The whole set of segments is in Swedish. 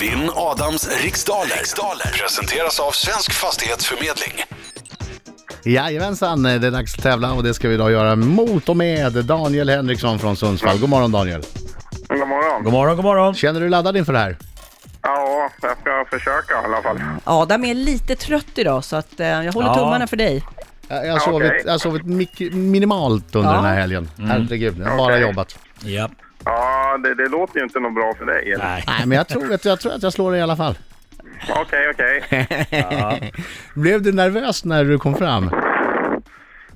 Vinn Adams riksdaler. riksdaler presenteras av Svensk Fastighetsförmedling. Jajamensan, eh, det är dags att tävla och det ska vi idag göra mot och med Daniel Henriksson från Sundsvall. God morgon Daniel! God morgon. God morgon, god morgon. Känner du dig laddad inför det här? Ja, jag ska försöka i alla fall. Adam är lite trött idag så att eh, jag håller Ja. tummarna för dig. Jag jag har sovit, okej. jag har sovit mycket- minimalt under Ja. den här helgen. Herregud, jag har bara Okej. jobbat. Ja. Ja, det, det låter ju inte något bra för dig. eller? Nej. Nej men jag tror, att- jag tror att jag slår dig i alla fall. Okej, okej. Blev du nervös när du kom fram?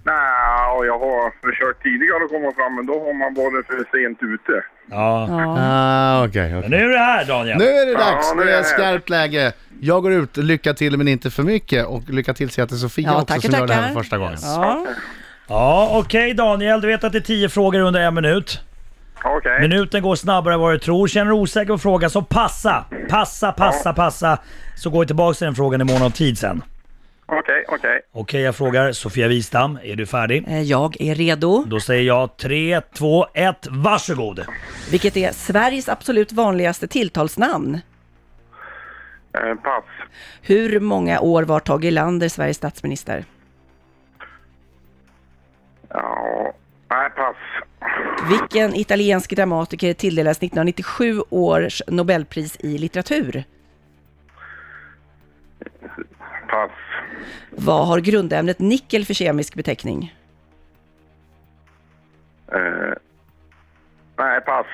Nej, och jag har försökt tidigare att komma fram, men då har man varit för sent ute. Ja. Ja. Ah, okej. okej. Men nu är det här Daniel. Nu är det dags, Ja, nu nu är är det jag här. skarpt läge. Jag går ut, lycka till men inte för mycket och lycka till säger jag till Sofia Ja, också tackar, som gör det här för tackar. första gången. Ja. Ja, okej Daniel. Du vet att det är tio frågor under en minut. Okej. Minuten går snabbare än vad du tror. Känner du osäker på frågan så passa! Passa, passa, passa. Så går vi tillbaka till den frågan i mån av tid sen. Okej, okej. Okej, jag frågar Sofia Wistam. Är du färdig? Eh, Jag är redo, Då säger jag 3, 2, 1, varsågod! vilket är Sveriges absolut vanligaste tilltalsnamn. Eh, Pass. Hur många år var Tage Erlander Sveriges statsminister? Ja, nej, pass. Vilken italiensk dramatiker tilldelades 1997 års Nobelpris i litteratur? Pass. Vad har grundämnet nickel för kemisk beteckning? Eh, nej, pass.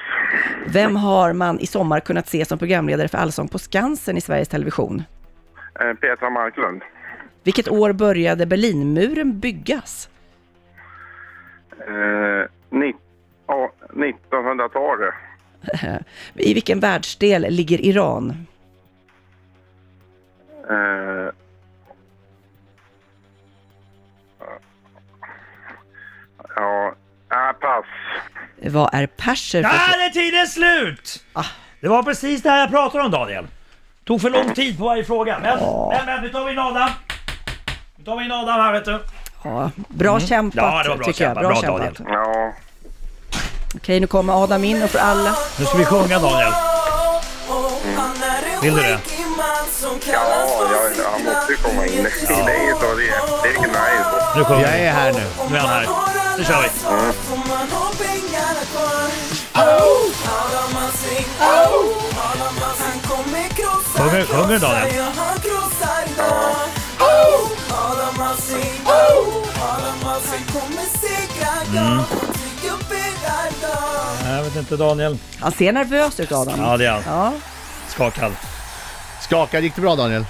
Vem har man i sommar kunnat se som programledare för Allsång på Skansen i Sveriges Television? Eh, Petra Marklund. Vilket år började Berlinmuren byggas? Eh, ni- ja, 1900-talet. I vilken världsdel ligger Iran? Eh, ja, nej, pass. Vad är perser för... Där är tiden slut! Det var precis det här jag pratade om Daniel. Tog för lång tid på varje fråga. Men, men, men nu tar vi in Adam. Nu tar vi in Adam här vet du. Ja, bra kämpat, Mm. Ja, det var bra tycker kämpat. jag. Bra, Daniel. Ja. Okej, nu kommer Adam in och för alla... Nu ska vi sjunga Daniel. Vill du det? Ja, ja, ja, han måste ju komma in i läget och det, det är nice. Nu sjunger Jag vi. är här nu. Nu är han här. Nu kör vi. Sjunger- Sjunger, sjunger sjunger Daniel? Daniel? Mm. Nej, Jag vet inte Daniel. Han ser nervös ut, Adam. Ja det är han. Ja. Skakad. Skakar, gick det bra Daniel?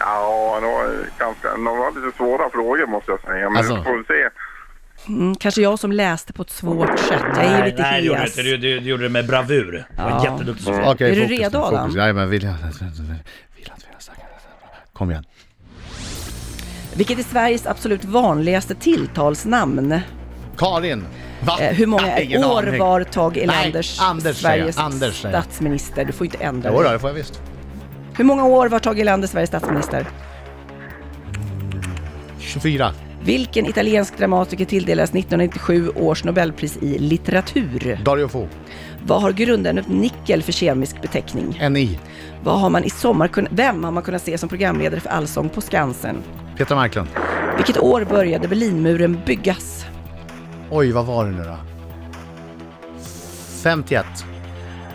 Ja, det var, ganska, de var lite svåra frågor måste jag säga. Men Alltså. vi får vi se. Mm, kanske jag som läste på ett svårt sätt. Jag är lite nej, det gjorde du hes. inte. Du, du, du gjorde det med bravur. Du var Ja. jätteduktig Sofia. Okej, Är du fokus nu, redo, Adam? fokus. Jajamän, vilja. Vilja att vilja snacka. Kom igen. Vilket är Sveriges absolut vanligaste tilltalsnamn? Karin! Va? Eh, Hur många Nej, ingen år aning. var Tage Nej, Erlanders Anders säger jag, Sveriges Anders säger jag. statsminister? Du får inte ändra Jodå, dig. det får jag visst. Hur många år var Tage Erlander Sveriges statsminister? 24. Vilken italiensk dramatiker tilldelades 1997 års Nobelpris i litteratur? Dario Fo. Vad har grundämnet nickel för kemisk beteckning? NI. Vad har man i sommar kun- Vem har man kunnat se som programledare för Allsång på Skansen? Petra Marklund. Vilket år började Berlinmuren byggas? Oj, vad var det nu då? 51.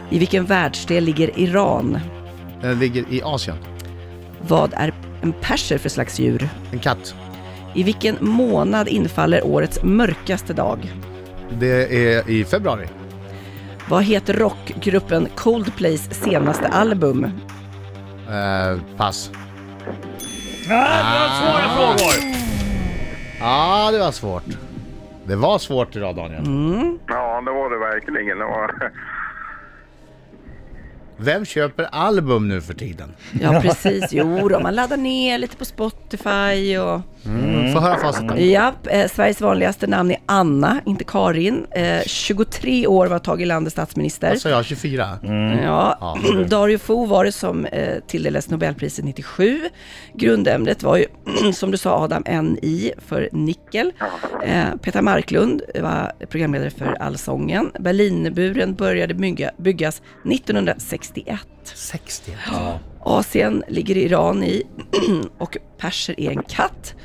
I vilken världsdel ligger Iran? Den ligger i Asien. Vad är en perser för slags djur? En katt. I vilken månad infaller årets mörkaste dag? Det är i februari. Vad heter rockgruppen Coldplays senaste album? Eh, pass. Ja, Ah, det var svåra frågor. ah, det var svårt. Det var svårt idag, Daniel. Ja, det var det verkligen. Det var, Vem köper album nu för tiden? Ja, precis. Jo, då, man laddar ner lite på Spotify och... Mm. Få höra facit då. Ja, eh, Sveriges vanligaste namn är Anna, inte Karin. Eh, 23 år var Tage Erlander statsminister. Vad sa jag? 24? Alltså, Mm. Ja. Dario Fo var det som eh, tilldelades Nobelpriset 97. Grundämnet var ju, som du sa Adam, NI för nickel. Eh, Peter Marklund var programledare för Allsången. Berlinmuren började bygga, byggas 1961. 60? Asien ligger Iran i och perser är en katt.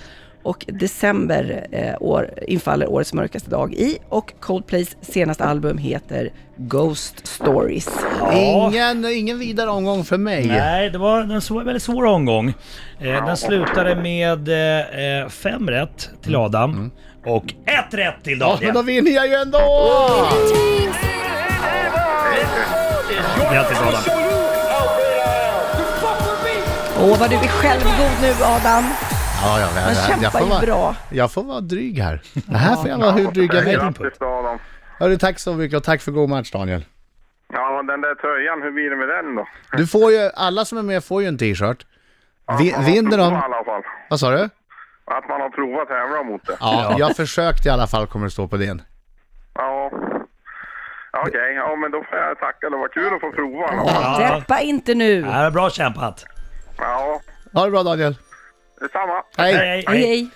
Och december eh, år, infaller årets mörkaste dag i och Coldplays senaste album heter Ghost Stories. Ingen, ingen vidare omgång för mig. Nej, det var en svår, väldigt svår omgång. Eh, den slutade med eh, eh, fem rätt till Adam och ett rätt till Mm. Ja, men då Daniel. vinner jag ju ändå! Grattis Adam! Åh, vad du är självgod nu Adam. Ja, jag, jag, Man jag, jag, kämpar får ju vara, bra. jag får vara dryg här. Det här får jag vara hur dryg jag vill. Grattis Adam. Hörru, tack så mycket och tack för god match Daniel. Ja, den där tröjan, hur blir det med den då? Du får ju, alla som är med får ju en t-shirt. Vi, Man har vinner provat de... I alla fall. Vad sa du? Att man har provat att tävla mot det. Ja, jag försökte i alla fall kommer det stå på din. Ja. Ja, Okej, ja men då får jag tacka. Det var kul att få prova. i alla fall. Ja. Deppa inte nu. Ja, bra kämpat! Ja, Ha det bra Daniel. detsamma. Hej! Hej, hej.